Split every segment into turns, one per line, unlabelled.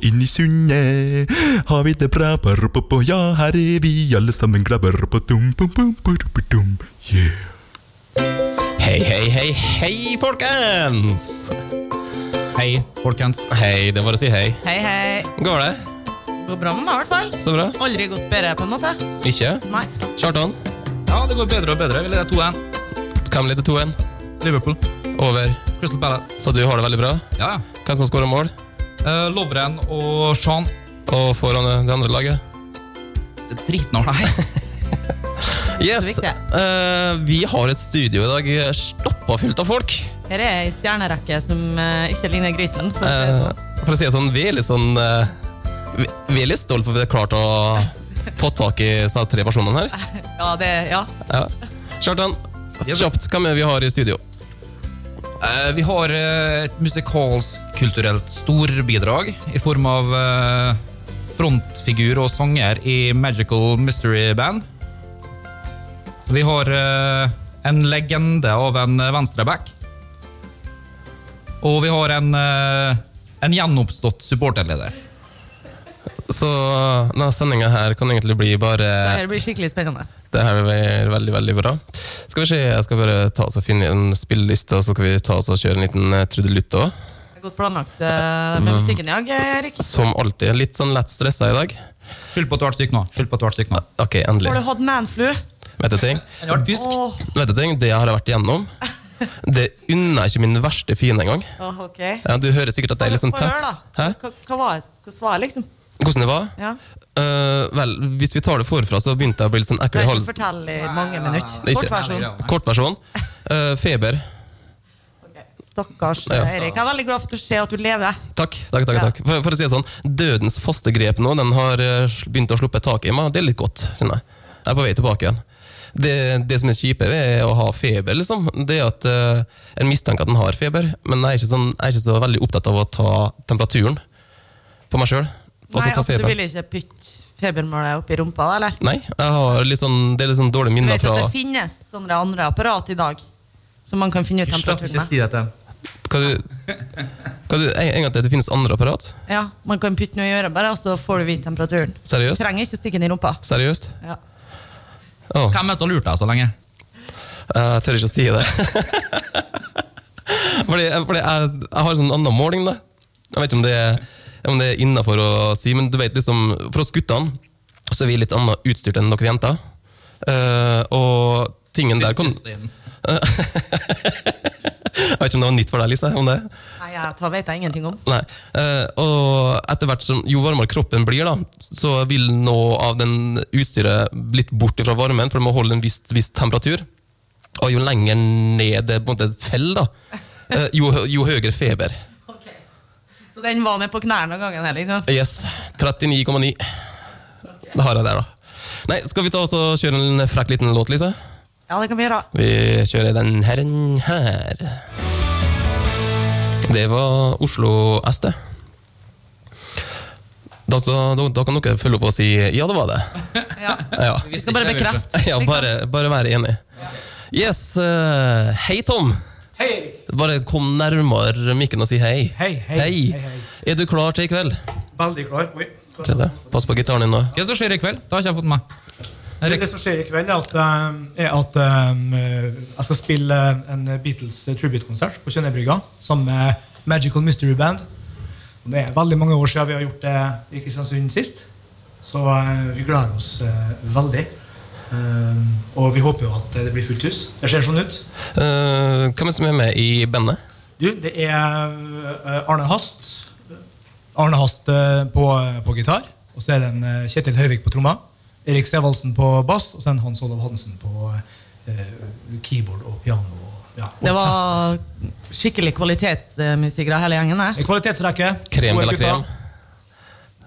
Inn i sundet har vi det bra. Ja, her er vi alle sammen glade. Yeah.
Hei, hei, hei, hei, folkens!
Hei, folkens.
Hei, det er bare å si hei.
Hei, hei.
Hvordan Går det?
Går bra med meg, i hvert fall.
Så bra?
Aldri gått bedre, på en måte.
Ikke?
Nei.
Kjartan,
Ja, det går bedre og bedre. Vi leder 2-1.
hvem leder 2-1?
Liverpool.
Over.
Crystal Palace.
Så du har det veldig bra?
Ja, ja.
Hvem som skårer mål?
Eh, Lovren og Sean.
Og foran eh, det andre laget?
Det er Dritnavn, nei.
Yes!
Det er viktig.
eh, vi har et studio i dag eh, stappa fullt av folk.
Her er ei stjernerekke som eh, ikke ligner grisen. For å si det
Eh,
sånn.
for å si det sånn, vi er litt sånn eh, vi, vi er litt stolt på at vi har klart å få tak i disse tre personene her.
sånn. Ja, det, ja.
Ja. Kjartan, kjapt hvem er det vi har i studio?
Eh, vi har eh, et musikalskulturelt storbidrag i form av eh, frontfigur og sanger i Magical Mystery Band. Vi har eh, en legende av en eh, venstreback. Og vi har en, eh, en gjenoppstått supporterleder.
Så eh, denne sendinga her kan egentlig bli
Det
bare
her blir skikkelig spennende.
Det her blir veldig, veldig bra. Skal vi se, Jeg skal bare ta oss og finne en spilleliste, og så skal vi ta oss og kjøre en liten eh, trudelutt òg.
Det er godt planlagt eh,
Mm.
med musikken i dag, Erik.
Som alltid. Litt sånn lett stressa i dag.
Skyld på at du har vært syk nå. Skyld på at du har vært syk nå.
Ok,
Har
endelig.
du hatt manflu?
Vet du ting?
Jeg har vært tysk.
Åh,
Vet du ting? Det jeg har vært igjennom, det unner jeg ikke min verste fiende engang.
åh, Ah, ok.
Ja, du hører sikkert at det er litt sånn
Få høre,
tett.
da.
Hæ?
Hva, hva var hva svaret, liksom?
Hvordan det var?
Ja.
Eh, vel, hvis vi tar det forfra, så begynte jeg å bli litt sånn ekkel i
Du kan ikke
halsen.
fortelle i mange minutter.
Ikke.
Kort versjon.
Ja, nei.
Kortversjon. Uh, feber.
Ok. Stakkars
Ja.
Erik. Jeg er veldig glad for at du ser at du lever.
Takk. takk, takk,
Ja.
takk. For, for å si det sånn, Dødens faste grep nå, den har eh, sl- begynt å sluppe tak i meg. Det er litt godt, synes jeg. Jeg er på vei tilbake igjen. Det, det som er kjipe ved å ha feber, liksom, det er at eh, en mistenker at en har feber, men jeg er, ikke sånn, jeg er ikke så veldig opptatt av å ta temperaturen på meg sjøl. Og
Nei,
så ta
altså, du
feber.
vil ikke putte febermålet oppi rumpa, da, eller?
Nei, jeg har litt sånn, det er litt sånn dårlige
Du
minner
vet
fra
at det finnes sånne andre apparat i dag som man kan finne ut
Slapp
temperaturen
ikke
med.
si det til ham.
hva du, hva du, en, en gang til, det finnes andre apparat?
Ja, man kan putte noe i øret bare, og så får du vite temperaturen.
Seriøst?
Trenger ikke stikke den i rumpa.
Seriøst?
Ja.
Åh,
Hvem er det som har lurt deg så lenge?
Eh, jeg tør ikke å si det. fordi fordi jeg, jeg har en sånn annen måling, da. Jeg vet ikke om det er, om det er innafor å si, men du vet liksom, for oss guttene så er vi litt annet utstyrt enn dere jenter. Eh, og tingen der kom Jeg vet ikke om det var nytt for deg, Lise. om det
Nei, jeg tar, vet jeg ingenting om.
Nei. Eh, og etter hvert som jo varmere kroppen blir, da, så vil noe av den utstyret litt bort fra varmen, for det må holde en viss, viss temperatur. Og jo lenger ned det på en måte faller, da, eh, jo, hø- jo høyere feber.
Så den var ned på knærne av gangen her, liksom.
Yes. 39,9. Det har jeg der, da. Nei, Skal vi ta oss og kjøre en frekk liten låt, Lise?
Ja, det kan vi gjøre.
Vi kjører den herren her. Det var Oslo SD. Da, så, da, da kan dere følge opp og si 'ja, det var det'.
Ja.
Ja,
Vi skal bare bekrefte.
ja bare, bare være enig. Yes. eh, hei, Tom.
Hei, Erik.
Bare kom nærmere mikken og si hei.
Hei, hei, hei, hei.
Er du klar til i kveld?
Veldig klar. Oi.
Se der. Pass på gitaren din nå.
Hva er det som skjer i kveld? Det har ikke jeg fått med meg. Erik,
Det som skjer i kveld, er at, eh, er at eh, jeg skal spille en Beatles tribute-konsert på Kjønnebrygga sammen med Magical Mystery Band. Og det er veldig mange år siden vi har gjort det i Kristiansund sist, så eh, vi gleder oss eh, veldig. Eh, og vi håper jo at det blir fullt hus. Det ser sånn ut.
Eh, hvem er det som er med i bandet?
Du, det er eh, Arne Hast. Arne Hast eh, på, på gitar. Og så er det en eh, Kjetil Høyvik på tromma. Erik Sevaldsen på bass. Og så en Hans Olav Hansen på eh, keyboard og piano. Og, ja, og
Det var skikkelig kvalitetsmusikere, eh, hele gjengen.
fest.
det.
En kvalitetsrekke.
Krem
Gode
de la
gutter.
krem.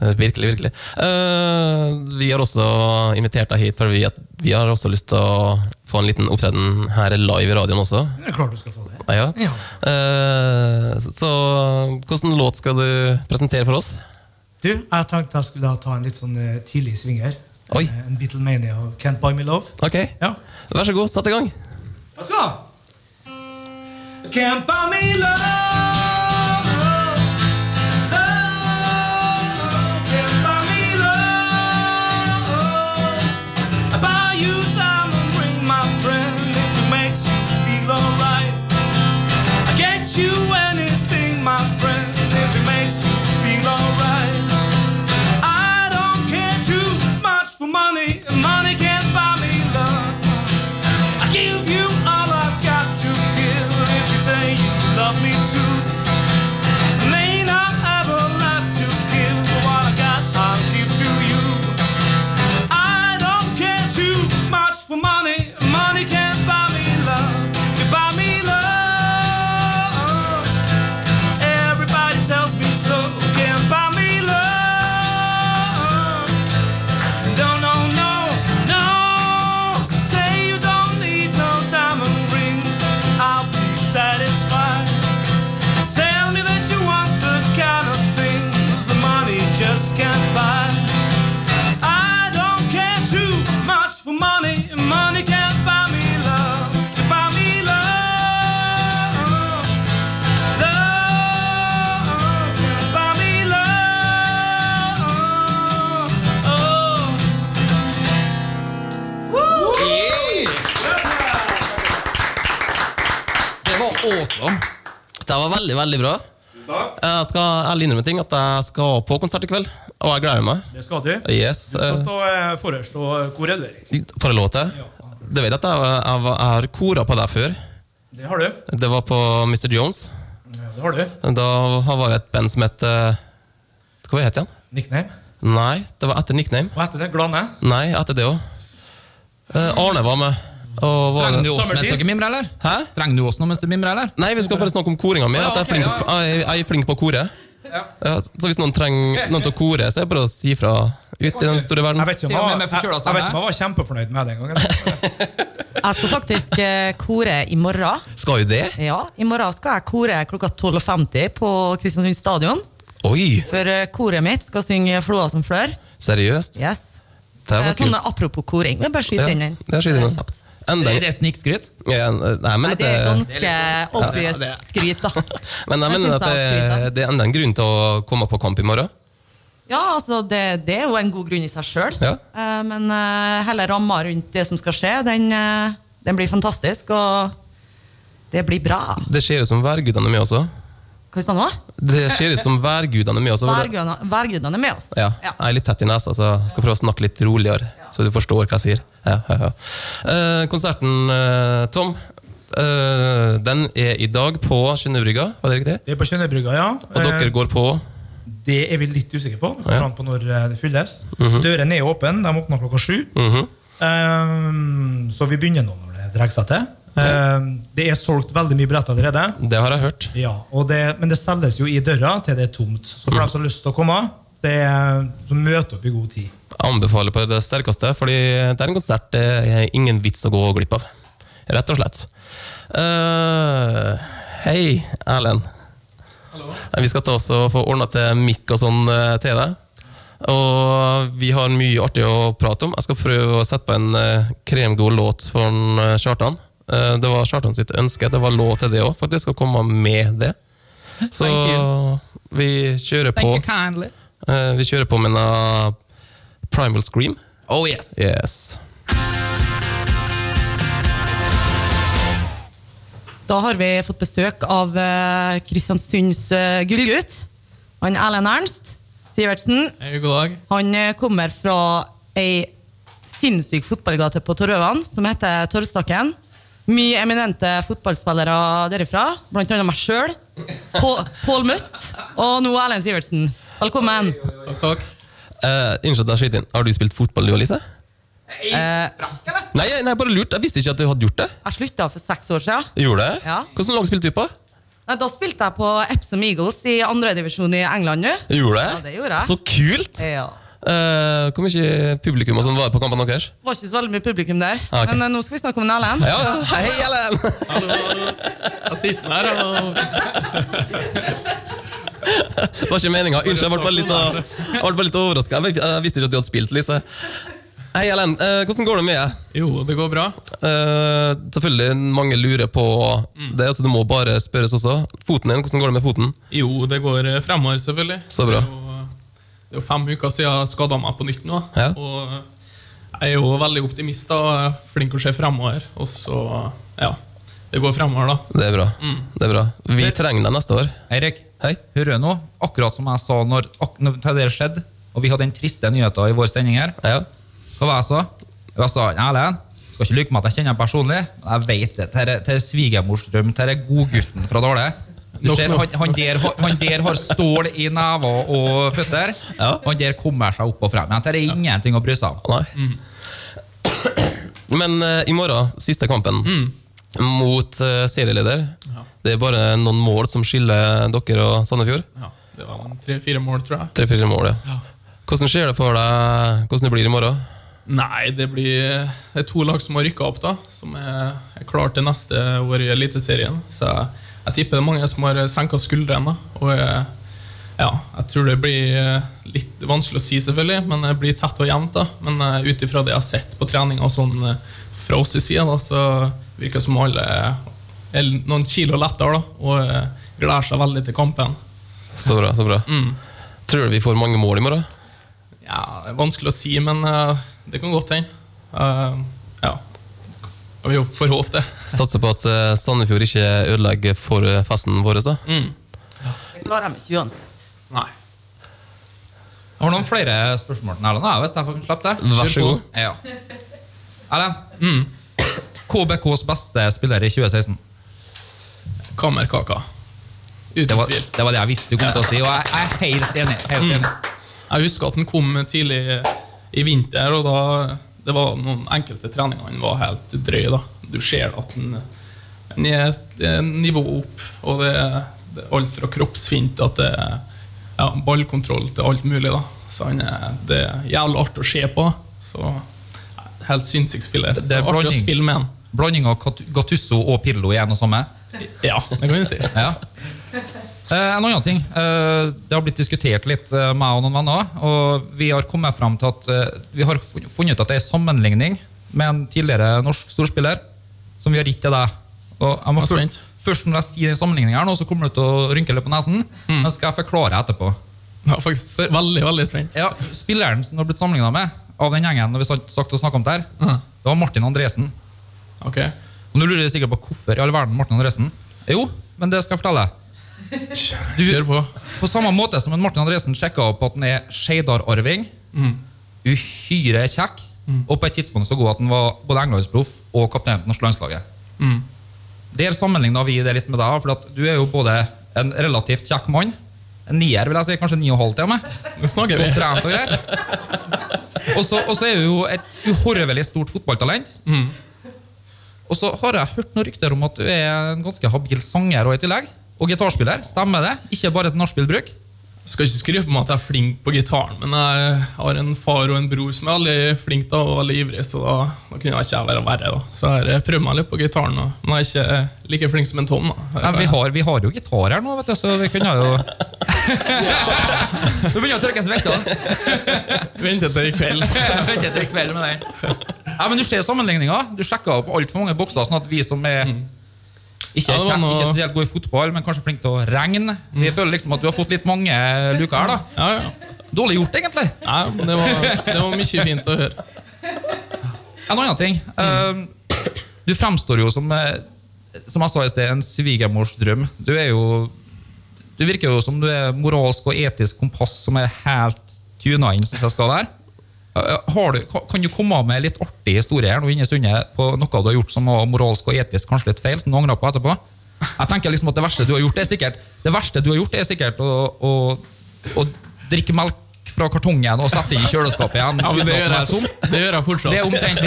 Eh, Virkelig, virkelig. Eh, vi har også invitert deg hit, for vi, at vi har også lyst til å få en liten opptreden her live i radioen også.
Det er klart du skal få det.
Ja. ja.
Ja.
Eh, så hvilken låt skal du presentere for oss?
Du, jeg tenkte jeg skulle da ta en litt sånn eh, tidlig svinger.
Oi.
Eh, En Beatlemania og Can't Buy Me Love.
Ok,
Ja.
vær så god, sett i gang.
Takk skal du ha. Can't buy me love. Love can't buy me love. I buy you time and ring, my friend, if it makes you feel alright. I get you anything, my friend, if it makes you feel alright. I don't care too much for money, and money can't buy me love. I give you all I've got to give if you say you love me too. I may not have a lot to give, but what I got I'll give to you. I don't care too much for money. Money can't buy me love. You buy me love. Everybody tells me so. Can't buy me love. No, no, no, no. Say you don't need no diamond ring. I'll be satisfied. Tell me that you want the kind of things the money just can't buy. I don't care too much for money. Money can't buy me love. Buy me love. Love. Buy me love. Oh.
Det var awesome. Det var veldig, veldig bra. Jeg skal ærlig innrømme ting at jeg skal på konsert i kveld, og jeg gleder meg.
Det skal du.
Yes.
Du skal
eh,
stå eh, forrest og kore, du, Erik.
For en låt, jeg. Du vet at jeg, jeg, var- jeg har kora på deg før.
Det har du.
Det var på Mr. Jones.
Ja, det har du.
Da var jeg i et band som het eh, Hva het det igjen?
Nickname.
Nei, det var etter Nickname.
Hva heter det? Glane?
Nei, etter det òg. Arne var med. Og var
Trenger du oss mens
Sommertid.
dere mimrer, eller?
Hæ?
Trenger du oss nå mens du mimrer, eller?
Nei, vi skal bare snakke om koringa mi.
Å, ja,
At jeg, er flink,
ok,
på- jeg, jeg er flink på å kore.
Ja.
Ja, så hvis noen trenger noen til å kore, så er det bare å si fra ut i den store verden.
Jeg vet ikke om
Til og med
jeg,
med
jeg, jeg,
forkjøla
vet ikke om jeg var kjempefornøyd med det engang.
Jeg skal faktisk eh, kore i morgen.
Skal jo det?
Ja, I morgen skal jeg kore klokka 12.50 på Kristiansund stadion.
Oi!
For eh, koret mitt skal synge 'Floa som flør'.
Seriøst?
Yes.
Det
Eh,
var
Sånn
kult.
apropos koring. Jeg bare skyter
Ja,
inn den.
det er skyter inn den.
Kjapt.
Enda
Er det snikskryt?
ja, Nei, men
Nei, det er
dette-
ganske obvious skryt, da.
men jeg
Jeg
mener
synes
at det,
jeg har skryt, da.
det er enda en grunn til å komme på kamp i morgen.
Ja, altså, det, det er jo en god grunn i seg sjøl.
Ja.
Eh, men eh, hele ramma rundt det som skal skje, den, eh, den blir fantastisk, og det blir bra.
Det ser ut som værgudene er med også.
Hva sa du nå?
Det ser ut som værgudene er med også. for det-
Værgudene værgudene er med oss.
Ja,
Ja.
jeg er litt tett i nesa, så jeg skal prøve å snakke litt roligere. Så du forstår hva jeg sier. Ja, ja, ja. Eh, konserten, eh, Tom, eh, den er i dag på Skinnebrygga, var det riktig?
Det er på Kjønnøybrygga, ja.
Og dere går på
Eh, Det er vi litt usikre på. Det
Ja.
kommer an på når eh, det fylles. Dørene er åpne. De åpner klokka sju.
Mhm.
Eh, så vi begynner nå når det drar seg til. Eh, det er solgt veldig mye billett allerede.
Det har jeg hørt.
Ja, og det, Men det selges jo i døra til det er tomt. Så
Mhm.
for dem som har lyst til å komme, det er, så møt opp i god tid.
Jeg anbefaler på det sterkeste, fordi det er en konsert det er ingen vits å gå glipp av. Rett og slett. Eh, hei, Erlend. Nei, Vi skal ta oss og få ordna til mikk og sånn eh, til deg. Og vi har mye artig å prate om. Jeg skal prøve å sette på en eh, kremgod låt for en, eh, Kjartan. Eh, Det var Kjartan sitt ønske. Det var lov til det òg, faktisk, å komme med det. Så vi kjører
Thank
på.
you kindly.
Eh, Vi kjører på med en eh, Primal Scream.
Oh yes.
Yes.
Da har vi fått besøk av eh, Kristiansunds eh, gullgutt. Han Erlend Ernst Sivertsen.
god dag.
Han eh, kommer fra ei sinnssyk fotballgate på Torøvan som heter Torvstakken. Mye eminente fotballspillere derifra, blant annet meg sjøl. Pål Must og nå Erlend Sivertsen. Velkommen.
Takk, takk.
Eh, Unnskyld, jeg skyter inn. Har du spilt fotball, du, Alice?
Eh,
Nei, jeg- nei, bare lurt. Jeg visste ikke at du hadde gjort det.
jeg slutta for seks år siden.
Gjorde det?
Ja.
Hvordan lag spilte du på?
Nei, Da spilte jeg på Epsom Eagles i andredivisjon i England nå.
Gjorde det?
Ja, det gjorde jeg.
Så kult!
Ja.
Eh, hvor mye publikum og sånn var det på kampene deres?
Det var ikke så veldig mye publikum der.
Ah, ok.
Men eh, nå skal vi snakke om en Erlend.
Ja, ja. Hei, Ellen!
Jeg sitter her og
Det var ikke meninga. Unnskyld, jeg ble bare litt, så- jeg ble bare litt overraska. Jeg vet- jeg visste ikke at du hadde spilt, Lise. Hei, Ellen. Eh, hvordan går det med deg?
Jo, det går bra.
Eh, selvfølgelig mange lurer på det, så du må bare spørres også. Foten din, hvordan går det med foten?
Jo, det går eh, fremover, selvfølgelig.
Så bra.
Det er jo, det er jo fem uker siden jeg skada meg på nytt nå.
Ja.
Og jeg er jo veldig optimist da, og er flink å se fremover. Og så, ja, det går fremover, da.
Det er bra. Det er bra. Vi trenger deg neste år.
Eirik,
Hei.
hører du nå? Akkurat som jeg sa når, ak når det der skjedde, og vi hadde den triste nyheten i vår sending her,
Ja.
hva var jeg så? Jeg sa, Erlend, skal ikke lykke med at jeg kjenner deg personlig, men jeg vet det. Dette er- dette er svigermors drøm. Dette er godgutten fra Dale. Du ser, han, han, der, har- han der har stål i never og føtter.
Ja.
Han der kommer seg opp og frem. Men dette er ingenting å bry seg om.
Nei.
Mm.
Men eh, i morgen, siste kampen mot eh, serieleder. Det er bare noen mål som skiller dere og Sandefjord.
Ja, det var en tre-fire mål, tror jeg.
Tre-fire mål, ja. Hvordan ser det for deg hvordan det blir i morgen?
Nei, det blir eh, det er to lag som har rykka opp, da. Som er, er klar til neste år i Eliteserien. Så jeg, jeg tipper det er mange som har senka skuldrene. da. Og eh, ja, jeg tror det blir eh, litt vanskelig å si, selvfølgelig, men det blir tett og jevnt. da. Men eh, ut ifra det jeg har sett på treninga sånn, eh, fra oss i sida, da, så virker det som alle er noen kilo lettere da, og eh, gleder seg veldig til kampen.
Så bra, så bra.
Mm.
Tror du vi får mange mål i morgen?
Ja, det er vanskelig å si, men eh, det kan godt hende. Eh, ja. Vi får håpe det.
Satser på at eh, Sandefjord ikke ødelegger for eh, festen vår. da.
Mm.
Det klarer de ikke uansett.
Nei.
Har du noen flere spørsmål til Erlend? Ja, hvis jeg får slippe det.
Vær så
Kjør på.
god.
Ja. Erlend, KBKs beste spiller i 2016.
Kammerkaka.
Det
Uten
var,
tvil.
det var det jeg visste du kom til å si, og jeg jeg er helt enig. Helt enig.
Jeg husker at den kom tidlig i vinter, og da det var noen enkelte treninger han var helt drøy. da. Du ser at han han er et eh, nivå opp, og det er det er alt fra kroppsfint til at det er ja, ballkontroll til alt mulig. da. Så han er, det er jævlig artig å se på. Så ja, Helt sinnssyk spiller.
Det
Så
er
artig å
blanding.
spille med han.
Blanding av Gat- Gattusso og Pirlo i en og samme.
Ja, det kan vi si.
Ja. Eh, en annen ting. Eh, det har blitt diskutert litt, eh, meg og noen venner. Og vi har kommet frem til at eh, Vi har fun- funnet ut at det er en sammenligning med en tidligere norsk storspiller som vi har gitt til deg. Og jeg må
Jeg er
før,
spent.
først når jeg sier den sammenligningen her nå, så kommer du til å rynke litt på nesen.
Mm.
Men skal jeg forklare etterpå.
Jeg er faktisk veldig, veldig spent.
Ja, Spilleren som du har blitt sammenlignet med av den gjengen når vi satt- sagt og snakket om det her,
Mm.
det var Martin Andresen.
Ok,
Og nå lurer jeg sikkert på hvorfor i all verden Martin Andresen. Jo, men det skal jeg fortelle. Du,
Kjør på.
på samme måte som en Martin Andresen sjekka opp at han er Skeidar-arving,
Mm.
uhyre kjekk, og på et tidspunkt så god at han var både englandsproff og kaptein på norsk landslaget.
Mm.
Der sammenligna vi det litt med deg, for at du er jo både en relativt kjekk mann, en nier, vil jeg si, kanskje en ni og halv til og med.
Nå snakker vi.
Godt trent og greier. Og så, og så er du jo et uhorvelig stort fotballtalent. Og så har jeg hørt noen rykter om at du er en ganske habil sanger og i tillegg. Og gitarspiller. Stemmer det? Ikke bare et nachspielbruk?
Jeg skal ikke skryte på meg at jeg er flink på gitaren, men jeg har en far og en bror som er veldig flink da, og veldig ivrig, så da, da kunne jeg ikke være verre. da. Så jeg har prøvd meg litt på gitaren, da. men jeg er ikke eh, like flink som en Tom. da.
Nei, vi, har, vi har jo gitar her nå, vet du, så vi kunne jo Du begynner å trykkes vekk, da.
Venter til i kveld.
Vent etter kvelden med deg. Ja, men du ser sammenligninga. Du sjekka opp altfor mange bokser, sånn at vi som er ikke,
Mm. Ja, det var
kjekk-
noe- Mm.
ikke spesielt gode i fotball, men kanskje flinke til å regne Vi føler liksom at du har fått litt mange luker her, da.
Ja, ja.
Dårlig gjort, egentlig.
Nei, men det var, det var mye fint å høre. Mm.
En annen ting. eh, du fremstår jo som, eh, som jeg sa i sted, en svigermors drøm. Du er jo Du virker jo som du er moralsk og etisk kompass som er helt tuna inn, som jeg skal være. Eh, Har du, ka- kan du komme av med litt artig historie her nå inne i stundet på noe du har gjort som var moralsk og etisk kanskje litt feil, som du angrer på etterpå? Jeg tenker liksom at Det verste du har gjort, er sikkert Det verste du har gjort er sikkert å, å, å drikke melk fra kartongen og sette i kjøleskapet igjen.
Ja, men
uten
det
at den
gjør
er tom.
jeg, det gjør jeg
Det er
fortsatt.
omtrent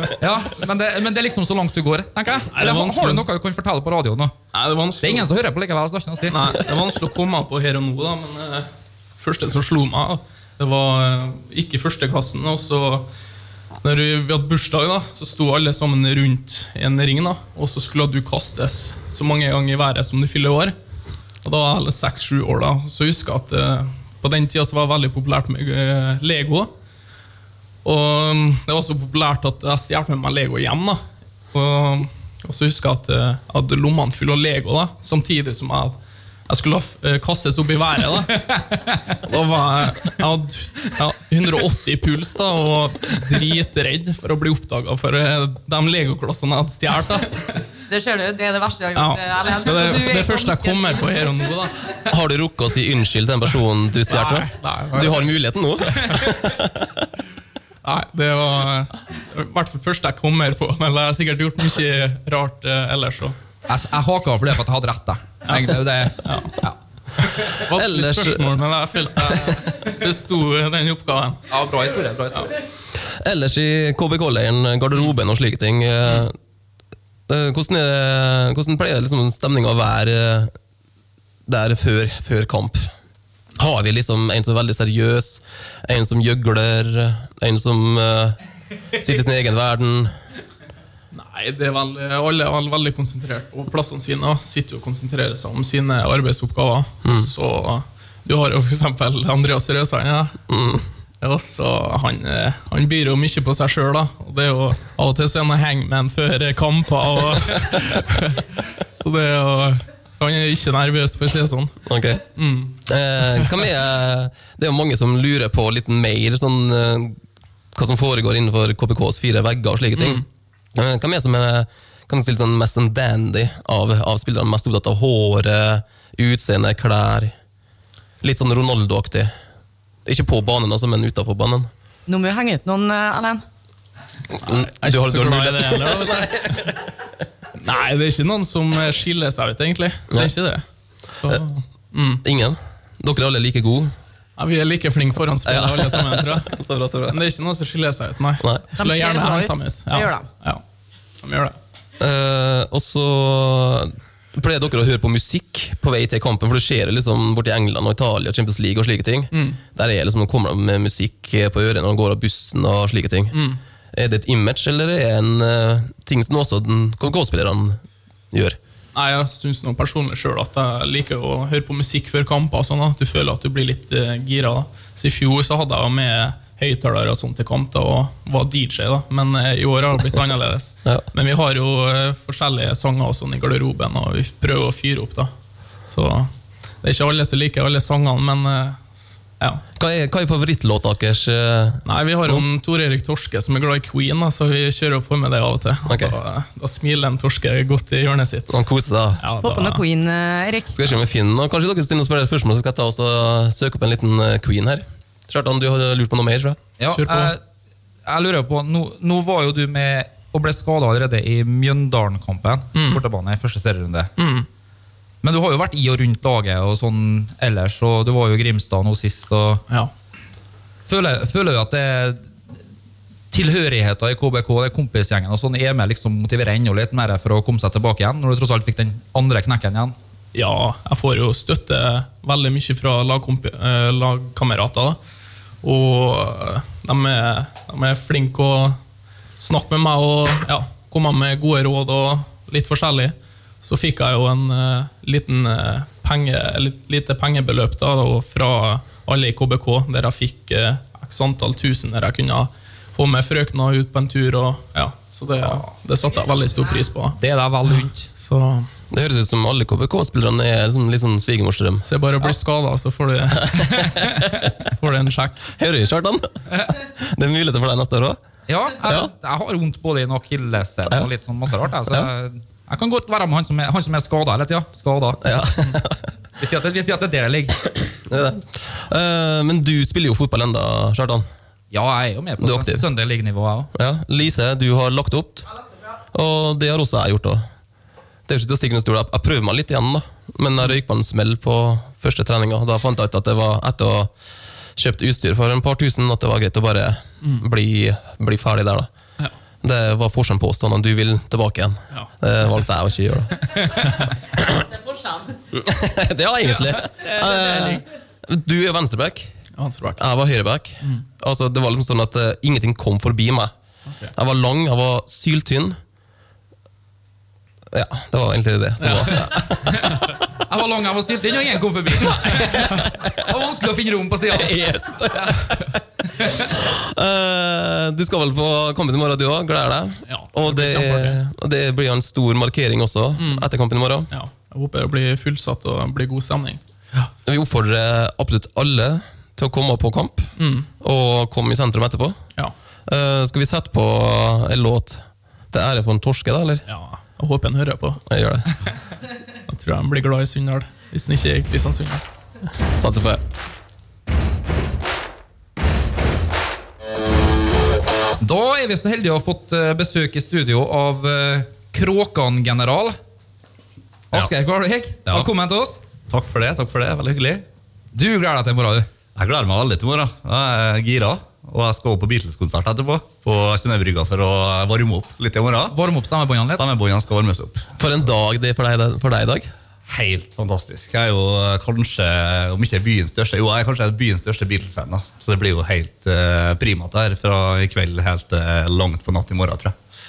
det. Ja, men det, men det er liksom så langt du går. tenker jeg.
Nei, det er
Eller har- har du
vanskelig.
noe du kan fortelle på radioen nå?
Nei, det er
Det er
vanskelig.
ingen som hører på likevel. så det er ikke noe å si.
Nei, det er vanskelig å komme på her og nå, da, men eh, første som slo meg, da, det var eh, ikke i første klassen. Og så, når vi vi hadde bursdag, da, så sto alle sammen rundt i en ring, da, og så skulle du kastes så mange ganger i været som du fyller år. Og da var jeg seks-sju år, da. Så husker jeg at eh, på den tida så var det veldig populært med eh, Lego. Og um, det var så populært at jeg stjal med meg Lego hjem. da. Og, og så husker jeg at eh, jeg hadde lommene fulle av Lego, da, samtidig som jeg, jeg skulle eh, kastes opp i været. Da, da var jeg, jeg hadde ja, 180 i puls da, og dritredd for å bli oppdaga for eh, de legoklossene jeg hadde stjålet.
Det ser du, det er det verste jeg
Ja.
har gjort. eh,
Det,
Erlend.
det,
Du er
det første jeg
ganske-
kommer på her og nå. da.
Har du rukket å si unnskyld til den personen du stjal fra?
Nei, nei, nei.
Du har muligheten nå.
Nei, det var i hvert fall første jeg kommer på. Men jeg har sikkert gjort mye rart eh, ellers òg.
Jeg, jeg haka av for det for at jeg hadde rett. da. Jeg, det, det, ja.
Vanskelig
Ellers-
spørsmål, men jeg følte jeg besto den oppgaven.
Ja, bra historie. bra historie.
Ellers i KBK-leiren, garderoben og slike ting, eh, eh, hvordan, er, det- hvordan pleier liksom stemninga å være eh, der før, før kamp? Har vi liksom en som er veldig seriøs, en som gjøgler, en som eh, sitter i sin egen verden?
Nei, det er vel, alle er vel veldig konsentrert på plassene sine. og Sitter jo og konsentrerer seg om sine arbeidsoppgaver. Så du har jo f.eks. Andreas Røsand. Ja. Og så han, eh, han byr jo mye på seg sjøl. Av og til så er han hangman før kamper. Og, så det er jo Han er ikke nervøs, for å si det sånn.
Ok. Eh, hva med, det er jo mange som lurer på litt mer sånn, eh, hva som foregår innenfor KPKs fire vegger og slike
Mm.
ting. Eh, hva med som er kan stille sånn mest en dandy av, av spillerne? Mest opptatt av håret, utseende, klær. Litt sånn Ronaldo-aktig. Ikke på banen, altså, men utafor banen.
Nå må vi henge ut noen, eh, Erlend.
Mm, Du har, du har
Nei,
mulighet.
det er heller, da. Nei, det er ikke noen som skiller seg ut, egentlig. Det
Nei.
er ikke det. Så,
Ingen? Dere er alle like gode?
ja, vi er like flinke foran spillet,
Ja.
alle sammen, tror jeg.
Så bra, så bra.
Men det er ikke noen som skiller seg ut, nei.
Nei.
Jeg Skulle
De ser
gjerne
bra
henta
ut.
meg ut.
Det gjør de.
Ja. de gjør det.
Eh, og så pleier dere å høre på musikk på vei til kampen, for det skjer liksom borti England og Italia, Champions League og slike ting. Der er liksom, kommer de med musikk på ørene og går av bussen og slike ting. Er det et image, eller er det en eh, ting som også den KK-spillerne gjør?
Nei, Jeg syns nå personlig sjøl at jeg liker å høre på musikk før kamper. og Sånn, da. du føler at du blir litt eh, gira. da. Så I fjor så hadde jeg jo med høyttalere og sånt til kamp da, og var DJ, da. men eh, i år har det blitt annerledes.
Ja.
Men vi har jo eh, forskjellige sanger og sånn i garderoben, og vi prøver å fyre opp. da. Så det er ikke alle som liker alle sangene, men eh, ja.
Hva er, hva er favorittlåta deres? eh?
Nei, vi har jo en Tor Erik Torske som er glad i Queen, da, så vi kjører jo på med det av og til.
Ok.
Da, da smiler en Torske godt i hjørnet sitt.
Sånn kose deg.
Ja,
Få på
da-
noe Queen, eh, Erik.
Skal jeg se om vi finner noe? Kanskje dere stiller noen spørre- spørsmål, så skal jeg ta og så søke opp en liten eh, queen her. Kjartan, du har lurt på noe mer, tror jeg?
Ja,
Kjør på.
Jeg, jeg lurer på, nå, nå var jo du med og ble skada allerede i Mjøndalen-kampen.
Mm.
Bortebane i første serierunde. Men du har jo vært i og rundt laget og sånn ellers, og du var jo i Grimstad nå sist. og...
Ja.
Føler, føler du at det tilhørigheten i KBK, det kompisgjengen og sånn, er med liksom motiverer enda litt mer for å komme seg tilbake igjen, når du tross alt fikk den andre knekken igjen?
Ja, jeg får jo støtte veldig mye fra lagkompi- eh, lagkamerater. da. Og eh, de er, de er flinke å snakke med meg og ja, komme med gode råd og litt forskjellig. Så fikk jeg jo en eh, liten eh, penge, litt, lite pengebeløp da, da, fra alle i KBK, der jeg fikk eh, x antall tusen der jeg kunne få med frøkna ut på en tur. Og, ja, så det, det satte jeg veldig stor pris på.
Det er deg vel rundt.
Så...
Det høres ut som alle KBK-spillerne er liksom litt sånn svigermorsdrøm.
Så det er bare å bli skadet, skada, så får du, får du en sjekk.
Hører du, Kjartan? Det er muligheter for deg neste år òg.
Ja, jeg, jeg har vondt både i en akilleshæl og litt sånn masse rart. Jeg, så jeg, jeg kan godt være med han som er, han som er skada hele tida. Skada.
Ja.
Vi sier at det- vi sier at det er der det ligger.
det er det. Eh, Men du spiller jo fotball enda, Kjartan.
Ja, jeg er jo med på
Du er
det.
aktiv.
Søndag ligger nivået, jeg òg.
Ja. Lise, du har lagt opp. Og det har også jeg gjort. da. Det er jo ikke til å stikke under stol. Jeg jeg prøver meg litt igjen, da. men jeg røyk på en smell på første treninga. Da fant jeg ut at det var etter å ha kjøpt utstyr for en par tusen, at det var greit å bare
Mm.
bli, bli ferdig der. da. Det var forskjellen på oss, da, når du vil tilbake igjen.
Ja.
Det valgte jeg å ikke gjøre. da. det var egentlig. Eh, Du er venstreback,
Ansvart.
jeg var høyreback. Altså, det var liksom sånn at eh, ingenting kom forbi meg. Jeg var lang, jeg var syltynn. Ja, det var egentlig det. som var. Ja.
Jeg var lang, jeg var stilt inn, og ingen kom forbi. Det var vanskelig å finne rom på sida.
Yes. Eh, du skal vel på kampen i morgen, du òg. Gleder deg.
Ja,
og, det
det blir
er, og det blir en stor markering også etter kampen i morgen.
Ja, jeg håper det blir fullsatt og det blir god stemning.
Vi oppfordrer absolutt alle til å komme på kamp, og komme i sentrum etterpå.
Ja,
Eh, skal vi sette på en låt til ære for en torske, da, eller?
ja jeg håper han hører på.
Jeg gjør det.
Jeg tror han blir glad i Sunndal, hvis han ikke er i Kristiansund.
Satser på det.
Da er vi så heldige å ha fått eh, besøk i studio av eh, Kråkan-general. Asgeir Kvalvik,
Ja.
velkommen til oss.
Takk for det. takk for det, Veldig hyggelig.
Du gleder deg til i morgen, du.
Jeg gleder meg veldig til i morgen. Jeg er gira. Og jeg skal opp på Beatles-konsert etterpå på Synnøve Brygga for å varme opp litt i morgen.
Varm opp stemmebåndene litt.
Stemmebåndene skal varmes opp.
For en dag det er for deg, for deg i dag.
Helt fantastisk. Jeg er jo eh, kanskje, om ikke byens største, jo, jeg er kanskje byens største Beatles-fan. da. Så det blir jo helt eh, primat her fra i kveld helt eh, langt på natt i morgen, tror jeg.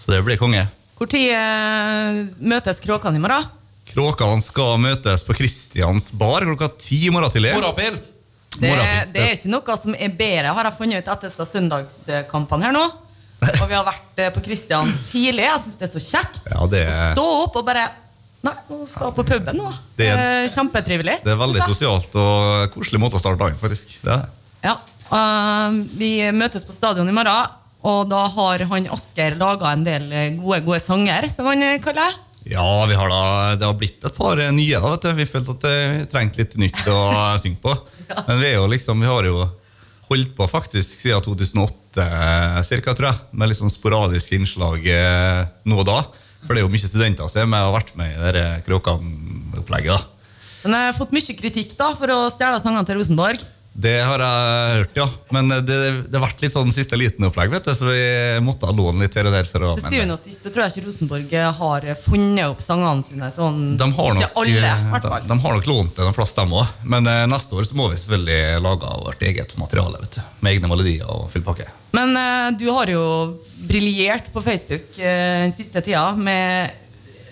Så det blir konge.
Hvor tid eh, møtes kråkene i morgen?
Kråkene skal møtes på Christians bar klokka ti i morgen tidlig.
Morapils.
Det,
Morgenpils,
det er ikke noe som er bedre, har jeg funnet ut etter disse søndagskampene her nå. Og vi har vært eh, på Kristian tidlig. Jeg syns det er så kjekt.
Ja, det
Å
er-
Stå opp og bare Nei, nå skal jeg på puben, da.
Det er-
Eh, Kjempetrivelig.
Det er veldig
synes jeg.
sosialt og koselig måte å starte dagen faktisk. Det er det.
Ja. eh, vi møtes på stadion i morgen, og da har han Asker laga en del eh, gode, gode sanger, som han eh, kaller det.
Ja, vi har da, det har blitt et par eh, nye. da, vet du. Vi følte at eh, vi trengte litt nytt å synge på. Men vi, er jo liksom, vi har jo holdt på faktisk siden 2008 eh, cirka, tror jeg, med litt sånn sporadiske innslag eh, nå og da. For det er jo mye studenter som er med og har vært med i det Kråkan-opplegget. da.
Men jeg har fått mye kritikk da for å stjele sangene til Rosenborg.
Det har jeg hørt, ja. Men eh, det, det har vært litt sånn siste liten opplegg, vet du, så vi måtte låne litt her og der. for å...
Til
men-
syvende og sist så tror jeg ikke Rosenborg har funnet opp sangene sine. Sånn,
De har nok, eh,
ikke alle, i hvert
de,
fall.
de har nok lånt en plass, dem òg. Men eh, neste år så må vi selvfølgelig lage vårt eget materiale. vet du. Med egne melodier og full pakke.
Men eh, du har jo briljert på Facebook eh, den siste tida med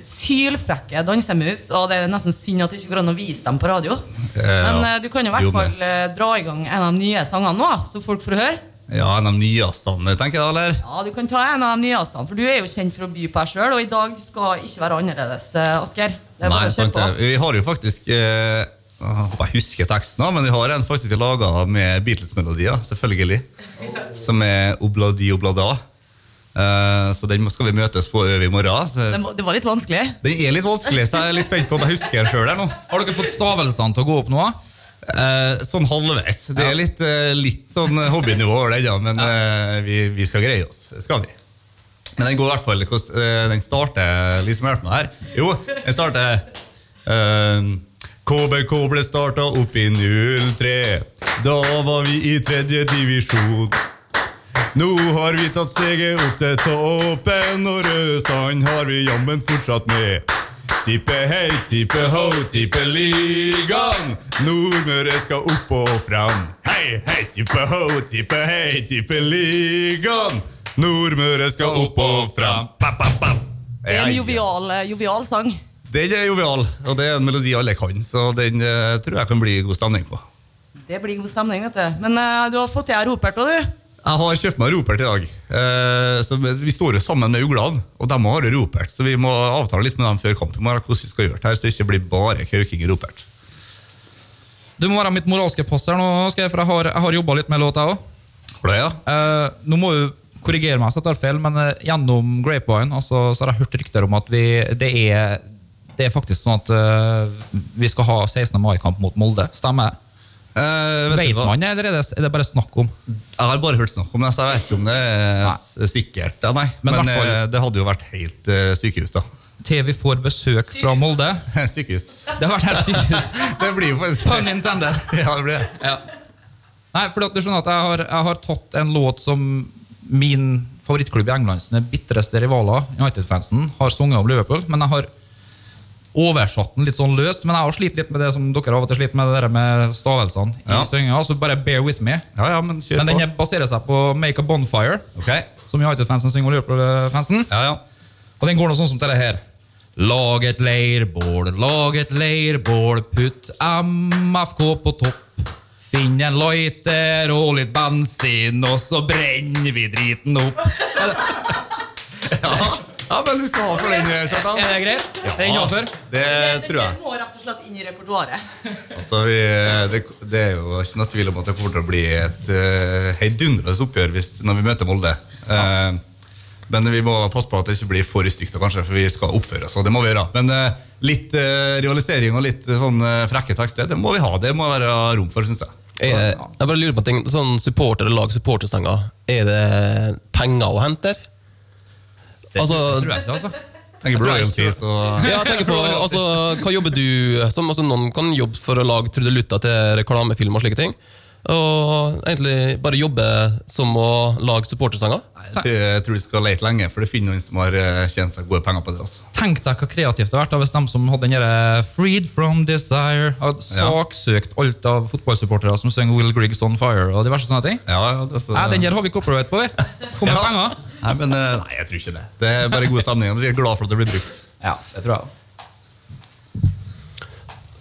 sylfrekke dansemoves, og det er nesten synd at det ikke går an å vise dem på radio. Men eh, du kan jo i
Jo,
hvert
men-
fall eh, dra i gang en av de nye sangene nå, så folk får høre.
Ja, de nyeste, tenker jeg, eller?
Ja, du kan ta en av de nyeste, for du er jo kjent for å by på deg sjøl, og i dag skal ikke være annerledes, eh, Asgeir. Det er
Nei,
bare å kjøre
sant,
på.
det. Vi har jo faktisk eh, Jeg håper jeg husker teksten, da, men vi har en faktisk vi laga med Beatles-melodier, selvfølgelig. Som er Obladi Oblada. Eh, så den må- skal vi møtes på Øv i morgen. Så
Det var- Det var litt vanskelig.
den er litt vanskelig, så jeg er litt spent på om jeg husker den sjøl her nå.
Har dere fått stavelsene til å gå opp nå?
Eh, sånn halvveis. Det er litt, eh, litt sånn hobbynivå over det, ja, men eh, vi, vi skal greie oss. Det skal vi. Men den går i hvert fall hvordan, eh, Den starter liksom hjelp meg her. Jo, den starter eh, KBK ble starta opp i 03. Da var vi i tredje divisjon. Nå har vi tatt steget opp til toppen, og Rødsand har vi jammen fortsatt med. Tippe hei, tippe ho, tippe ligaen. Nordmøre skal opp og fram. Hei, hei, tippe ho, tippe hei, tippe ligaen. Nordmøre skal opp og fram. Pa, pa, pa.
Det er en jovial, eh, jovial sang.
Den er jovial, og det er en melodi alle kan, så den eh, tror jeg kan bli god stemning på.
Det blir god stemning, vet du. Men eh, du har fått deg Ropert òg, du.
Jeg har kjøpt meg Ropert i dag. Eh, så vi står jo sammen med uglene, og de har Ropert. Så vi må avtale litt med dem før kamp i morgen hvordan vi skal gjøre det her, så det ikke blir bare kauking i Ropert.
Du må være mitt moralske pass her nå, Asgeir, for jeg har, jeg har jobba litt med låta òg.
For det, ja.
Eh, nå må du korrigere meg, hvis jeg tar feil, men eh, gjennom Grapevine altså, så har jeg hørt rykter om at vi, det, er, det er faktisk sånn at eh, vi skal ha 16. mai-kamp mot Molde. Stemmer det?
Eh, vet
Vet
du hva?
man det, eller er det, er det bare snakk om?
Jeg har bare hørt snakk om det, så jeg vet ikke om det er s- sikkert. Ja, nei.
Men
Men,
hvertfall-
eh, det hadde jo vært helt eh, sykehus, da.
Til vi får besøk fra Molde.
sykehus.
Det har vært helt sykt.
Det blir jo faktisk
Pun intended.
Ja, det blir det.
Nei, for at du skjønner at jeg har, jeg har tatt en låt som min favorittklubb i England, sine bitreste rivaler, United-fansen, har sunget om Liverpool. Men jeg har oversatt den litt sånn løst. Men jeg har slitt litt med det som dere av og til sliter med, det der med stavelsene i
Ja.
synginga. Så bare bear with me.
Ja, ja, men kjør
Men
på.
den er- baserer seg på Make a Bonfire,
Ok.
som United-fansen synger om Liverpool-fansen.
Ja, ja.
eh, Og den går noe sånn som dette her. Lag et leirbål, lag et leirbål, putt MFK på topp. Finn en lighter og litt bensin, og så brenner vi driten opp.
Ja, men du skal ha for den, eh, Kjartan.
Er det greit? Er det innenfor?
Det Eh, tror jeg.
må rett og slett inn i repertoaret.
Altså, vi, det, det er jo ikke noe tvil om at det kommer til å bli et uh, heidundrende oppgjør hvis, når vi møter Molde. Eh, men vi må passe på at det ikke blir for stygt, da, kanskje, for vi skal oppføre oss. og det må vi gjøre. Men eh, litt eh, rivalisering og litt eh, sånn eh, frekke tekster, det må vi ha. Det må være rom for, syns jeg.
Er, det- jeg bare lurer på en ting. Sånn supporter- og lag supportersanger, er det penger å hente der? Altså,
Tror jeg ikke, altså.
Tenker på royalties og
Ja, jeg tenker på, altså, Hva jobber du som? Altså, noen kan jobbe for å lage trudelutter til reklamefilm og slike ting. Og egentlig bare jobbe som å lage supportersanger.
Jeg tror- jeg tror vi skal lete lenge, for det finner noen som har eh, tjent seg gode penger på det. altså.
Tenk deg hva kreativt det har vært da, hvis de som hadde den derre 'Freed from Desire' har saksøkt alt av fotballsupportere som synger 'Will Griggs on Fire' og diverse sånne ting.
Ja, ja, det, er så,
Nei, den der har vi copyright på, vi. Kom med
Ja.
penger.
Nei, men, eh, nei, jeg tror ikke det. Det er bare god stemning. Jeg er glad for at det blir brukt.
Ja, det tror jeg.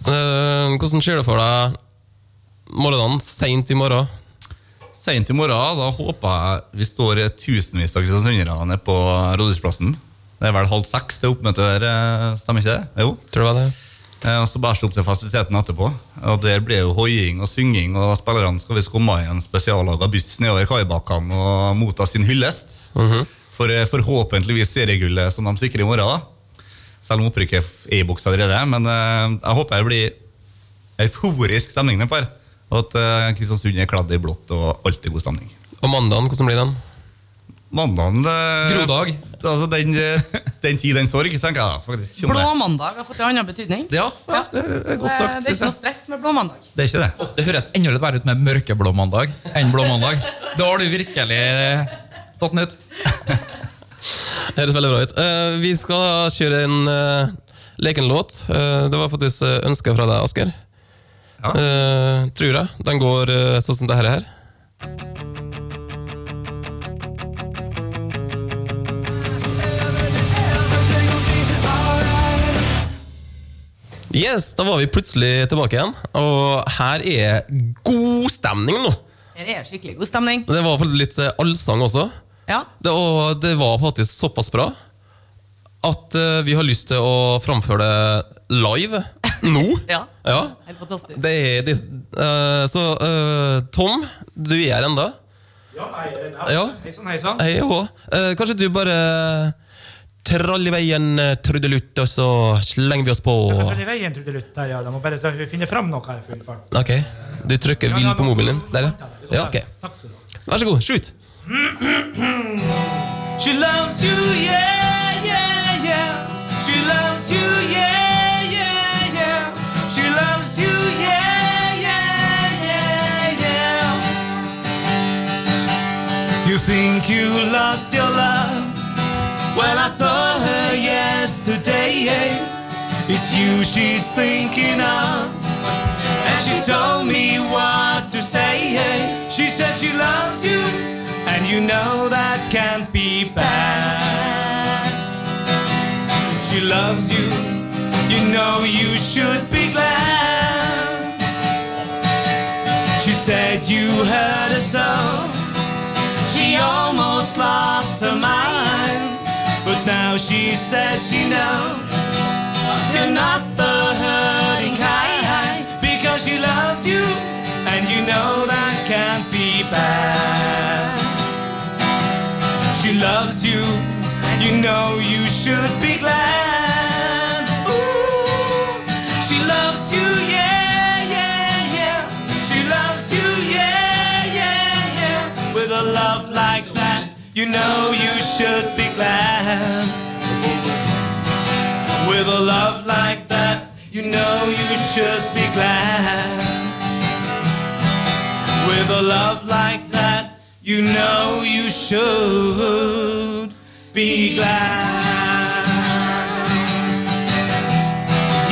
Eh, hvordan ser du for deg morgenen seint i morgen?
Sent i morgen, da håper jeg vi står tusenvis av kristiansundere nede på Rådhusplassen. Det er vel halv seks det oppmøtet der, eh, stemmer ikke det? Jo.
Tror du det?
Eh, Og så bæres det opp til fasiliteten etterpå. Og der blir jo hoiing og synging, og spillerne skal visst komme i en spesiallaga buss nedover kaibakkene og motta sin hyllest. For eh, forhåpentligvis seriegullet som de sikrer i morgen. da. Selv om opprykket er i boks allerede. Men eh, jeg håper det blir euforisk stemning nedpå her. Og at eh, Kristiansund er kledd i blått og alltid god stemning.
Og mandagen, hvordan blir den?
Mandagen det-
Grodag.
eh, Altså den, den tid, den sorg, tenker jeg. faktisk om
Blå
det.
mandag har fått en annen betydning.
Ja, ja,
Ja.
det er godt
Så, eh,
sagt.
Det er ikke noe stress med blå mandag.
Det er ikke det.
Det høres enda litt verre ut med mørkeblå mandag enn blå mandag. Da har du virkelig eh, tatt den ut.
Det Høres veldig bra ut. Eh, vi skal kjøre en eh, leken låt. Eh, det var faktisk eh, ønsket fra deg, Asker.
Ja.
Eh, tror jeg. Den går eh, sånn som det her. er. Yes, da var vi plutselig tilbake igjen. Og her er god stemning nå.
Her er skikkelig god stemning.
Det var litt eh, allsang også.
Ja.
Det, og det var faktisk såpass bra at eh, vi har lyst til å framføre det live nå.
Ja.
Ja.
Helt fantastisk.
Det er det, eh, Så eh, Tom, du er her ennå.
Ja, hei,
Ja.
Heisan, heisan.
Jeg òg. Eh, kanskje du bare trall i veien, eh, trudelutt, og så slenger vi oss på.
Jeg kan følge veien, trudelutt, der, ja. De må bare så- finne fram noe her. full fart.
Ok, Du trykker vill på mobilen din? Der, ja. ja ok.
Takk skal du ha.
Vær så god. Shoot.
She loves you, yeah, yeah, yeah. She loves you, yeah, yeah, yeah. She loves you, yeah, yeah, yeah, yeah. You think you lost your love? Well, I saw her yesterday. It's you she's thinking of. And she told me what to say. She said she loves you, and you know that can't be bad. She loves you, you know you should be glad. She said you hurt her so, she almost lost her mind. But now she said she knows. You're not the hurting kind because she loves you and you know that can't be bad. She loves you and you know you should be glad. Ooh, she loves you, yeah, yeah, yeah. She loves you, yeah, yeah, yeah. With a love like that, you know you should be glad. With a love like that, you know you should be glad. With a love like that, you know you should be glad.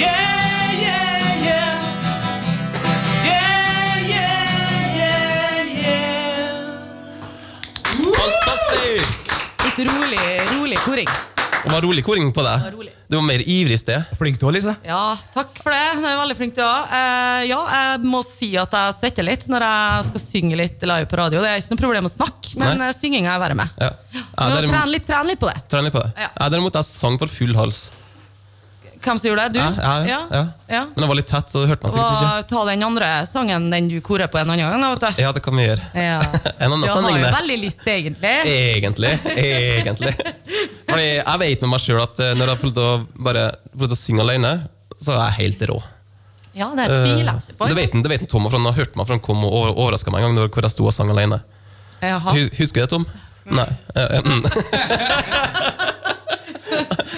Yeah, yeah, yeah. Yeah, yeah, yeah, yeah.
Fantastisk!
Litt rolig, rolig koring.
Det var rolig koring på
var
deg.
rolig.
Du var mer ivrig i sted.
Flink du òg, Lise.
Ja, takk for det. Du er veldig flink, du òg. Eh, ja, jeg må si at jeg svetter litt når jeg skal synge litt live på radio. Det er ikke noe problem å snakke, men
Nei.
eh, synginga er verre med.
Ja. Ja,
Men
derimot-
Tren litt, tren litt på det.
Tren litt på det.
Ja.
Ja, derimot, jeg sang for full hals.
Hvem som gjorde det? Du?
Ja, ja, ja.
ja.
Men det var litt tett, så det hørte man sikkert ikke.
Hva- Ta den andre sangen, den du korer på en annen gang. da, vet du.
Ja, det kan vi gjøre.
Ja.
En annen
Du har
sending,
jo
det.
veldig lyst, egentlig.
Egentlig. Egentlig. Fordi jeg vet med meg sjøl at eh, når jeg har prøvd å, bare, prøvd å synge alene, så er jeg helt rå.
Ja, det
Eh,
altså. tviler jeg ikke på.
Det vet en- det vet en Tom, for han har hørt meg for han kom og overraska meg en gang når- hvor jeg sto og sang alene.
Jaha.
Hus- Husker du det, Tom? Nei. Eh, eh, mm.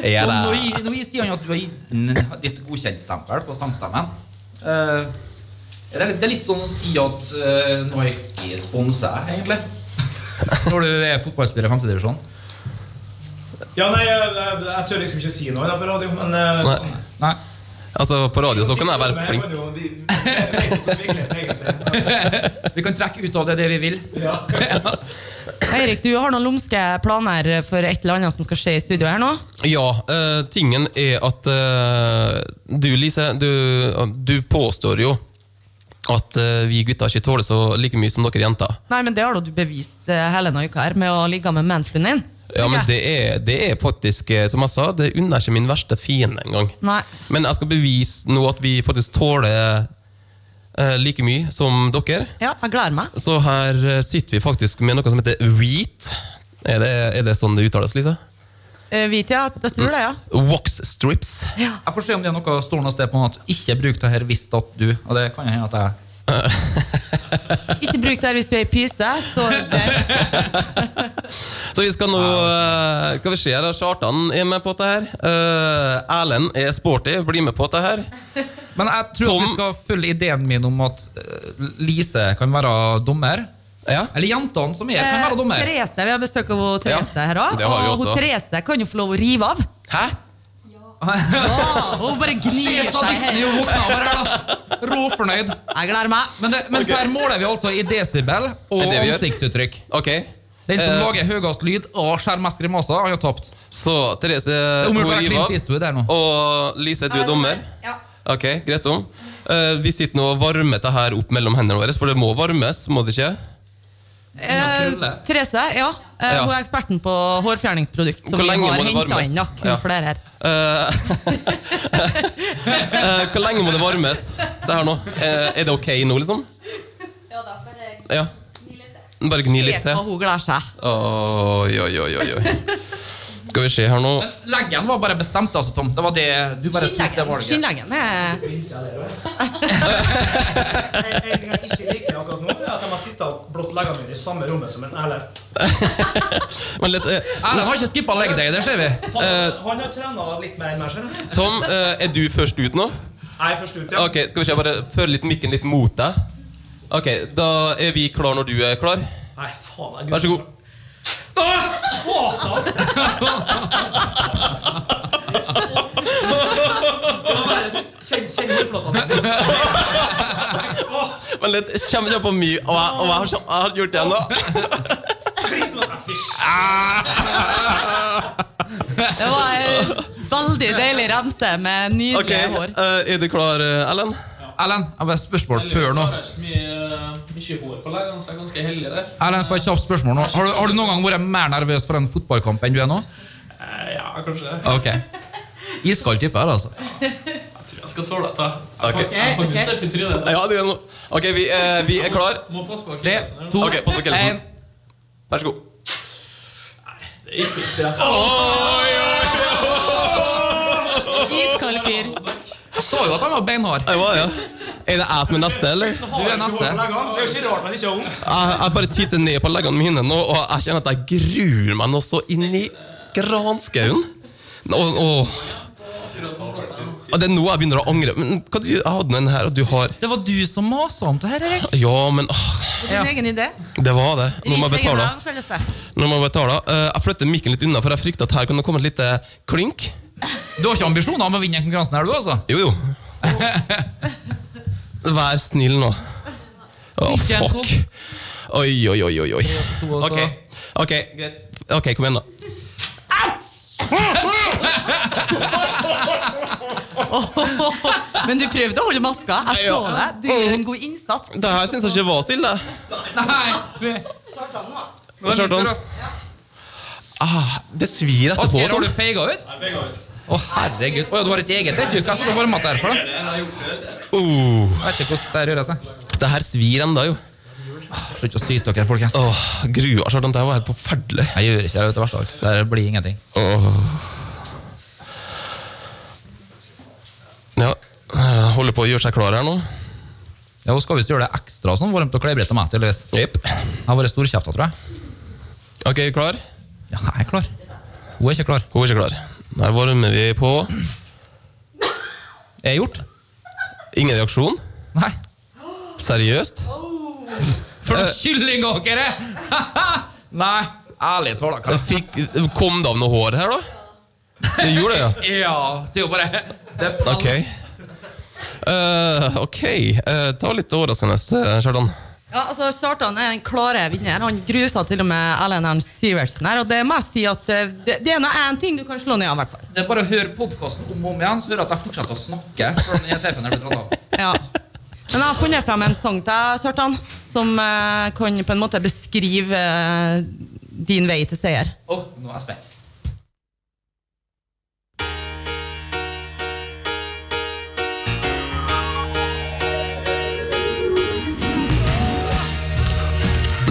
Ja da.
Og Nå, nå sier han at du har gitt den ditt godkjentstempel på sangstemmen. Eh, det, er litt, det er litt sånn å si at eh, nå er jeg ikke sponsa, egentlig. Når du er fotballspiller i femtedivisjon.
Ja, nei, jeg, jeg, jeg tør liksom ikke si noe da på radio, men eh,
Nei.
sånn.
Nei.
Altså, på radio så kan jeg
Men
være flink.
kan jo- vi- vi- jeg vet ikke hvordan virkeligheten egentlig er.
Vi kan trekke ut av det det vi vil.
Ja.
Eirik, du har noen lumske planer for et eller annet som skal skje i studio her nå?
Ja, eh, tingen er at eh, du, Lise, du, du påstår jo at eh, vi gutter ikke tåler så like mye som dere jenter.
Nei, men det har da du bevist eh, hele denne uka her med å ligge med manfluen din.
Ja, men
Ikke?
det er, det er faktisk, eh, som jeg sa, det unner ikke min verste fiende engang.
Nei.
Men jeg skal bevise nå at vi faktisk tåler eh, like mye som dere.
Ja, jeg gleder meg.
Så her eh, sitter vi faktisk med noe som heter wheat. Er det, er det sånn det uttales, Lise?
Eh, Vet jeg at jeg tror det, ja.
Wax strips.
Jeg får se om det er noe stående sted på at ikke bruk det her hvis at du Og det kan jo hende at jeg
Ikke bruk det her hvis du er i pyse. Står der.
Så vi skal nå eh, Skal vi se her, Kjartan er med på dette her. Eh, Erlend er sporty, blir med på dette her.
Men jeg tror at vi
Tom-
skal følge ideen min om at eh, Lise kan være dommer.
Ja.
Eller jentene som er, kan
Eh,
være dommer.
Therese, Vi har besøk av hun Therese
Ja,
her òg.
det har vi
Og hun
også.
Therese kan jo få lov å rive av.
Hæ?
Ja, hun bare gnir seg
Sadisten er
her.
jo våkna over her, da. Råfornøyd.
Jeg gleder meg.
Men, det, men der måler vi altså i desibel
Er
og
det vi gjør?
ansiktsuttrykk.
Ok.
Den som
Eh,
lager høyest lyd og skjærer mest grimaser, har jo tapt.
Så Therese
Det er
hun
umulig å være
river
Clint
av.
Eastwood her nå.
Og Lise, du er dommer.
Ja.
Ok, greit om. Eh, vi sitter nå og varmer dette her opp mellom hendene våre, for det må varmes, må det ikke?
Eh, Therese, ja. Eh,
Ja.
Hun er eksperten på hårfjerningsprodukt. Som
Hvor
vi
lenge må
har
det
henta
varmes?
inn da, kun
Ja.
for det her.
Eh, eh, hvor lenge må det varmes, det her nå? Eh, er det ok nå, liksom?
Ja da, bare
Ja.
gni litt til.
Bare gni
Se
litt til.
hva hun gleder seg.
Oi, oi, oi, oi. oi. Skal vi se her nå.
Leggen var bare bestemt, altså, Tom. Det var det du bare tok det
Skinnleggen.
valget.
Skinnleggen er
En ting jeg ikke liker akkurat nå, er at de har sittet og blått leggene mine i samme rommet som en Erlend.
Men litt, eh,
Erlend har ikke skippa leg day, det ser vi.
Han han har trena litt mer enn meg, ser du.
Tom, eh, er du først ut nå?
Jeg er først ut, ja.
Ok, Skal vi se, bare føre litt mikken litt mot deg. Ok, Da er vi klar når du er klar.
Nei, faen, jeg
Vær så god.
Åh, satan! Kjenn kjenn hårflatene.
Men litt, kjem ikke på mye, og jeg, og jeg, har, så- jeg har gjort det ennå.
Klissen og- Nei, fysj.
Det var en veldig deilig remse med nydelig
Ok,
hår.
eh, Er du klar, eh, Ellen?
Erlend, jeg har bare et spørsmål før nå.
har jeg ikke mye, eh, mye hår på leggene, så jeg er ganske heldig der.
Erlend, får jeg et kjapt spørsmål nå. Har du, har du noen gang vært mer nervøs for en fotballkamp enn du er nå?
Eh, Ja, kanskje det.
Ok. Iskald type her, altså.
Jeg tror jeg skal tåle dette.
Ok.
Jeg er faktisk sterk i trynet.
Ja, du er nå. Ok, vi, eh, vi er klar.
Må passe på
Tre,
akillesen her nå.
to,
Ok, pass på kelsen.
en.
Vær så god.
Det gikk ikke.
Iskald fyr.
Så jo at han var beinhard.
Det var, ja. Er det jeg som er neste, eller? Jeg,
Du er neste.
Hår på leggene. Det er jo ikke rart han ikke har vondt.
jeg bare titter ned på leggene mine nå, og jeg kjenner at jeg gruer meg nå så inn i granskauen. Og, og, og det er nå jeg begynner å angre. Men hva du, jeg hadde den her, og du har
Det var du som masa om det her, Erik.
Ja, men åh,
Din egen idé.
Det var det. Nå må jeg
Ris egen
betale.
arm, føles det.
Nå må jeg betale. Eh, Jeg flytter mikken litt unna, for jeg frykter at her kan det komme et lite klink.
Du har ikke ambisjoner om å vinne den konkurransen her, du, altså?
Jo, jo. Vær snill nå. Å, fuck. Oi, oi, oi, oi. oi.
To, altså.
Ok, ok, greit. Ok, kom igjen, da.
Men du prøvde å holde maska. Jeg så
Ja.
deg. Du gjør en god innsats.
Det her syns jeg ikke var så ille.
Nei!
Kjartan. Ah, det svir etterpå.
Asgeir, har
Tor.
du feiga ut? Å, herregud. Å, ja, du har et eget et, du. Hva står det varme her for, da?
Oh,
Jeg vet ikke hvordan det rører seg.
det her svir enda jo.
Slutt å syte dere, folkens.
Åh, grua, Kjartan. Det her var helt forferdelig.
Jeg gjør ikke det. vet du, Det verste av alt. Det her blir ingenting.
Ja, eh, holder på å gjøre seg klar her nå.
Ja, Hun skal visst gjøre det ekstra sånn varmt og klebrig til meg, tydeligvis.
Jepp.
Jeg har vært storkjefta, tror jeg.
Ok, klar?
Ja, jeg er klar. Hun er ikke klar.
Hun er ikke klar. Der varmer vi på.
Er jeg gjort?
Ingen reaksjon?
Nei.
Seriøst?
For noen kyllingåkere! Nei. Ærlig talt,
Jeg
hva?
Fikk, kom det av noe hår her, da? Det gjorde det, ja.
Ja, sier hun bare. Det er
Ok. Eh, ok, Eh, det var litt overraskende, eh, Kjartan.
Ja, altså Kjartan er den klare vinneren. Han grusa til og med Erlend Ernst Sivertsen her. Og det må jeg si at eh, det, det er nå én ting du kan slå ned av, i hvert fall.
Det er bare å høre podkasten om og om igjen, så hører jeg at jeg fortsetter å snakke. For den ESF-en er blitt dratt av.
Ja. Men jeg har funnet frem en sang til deg, Kjartan, som eh, kan på en måte beskrive eh, din vei til seier.
Å, nå er jeg spent.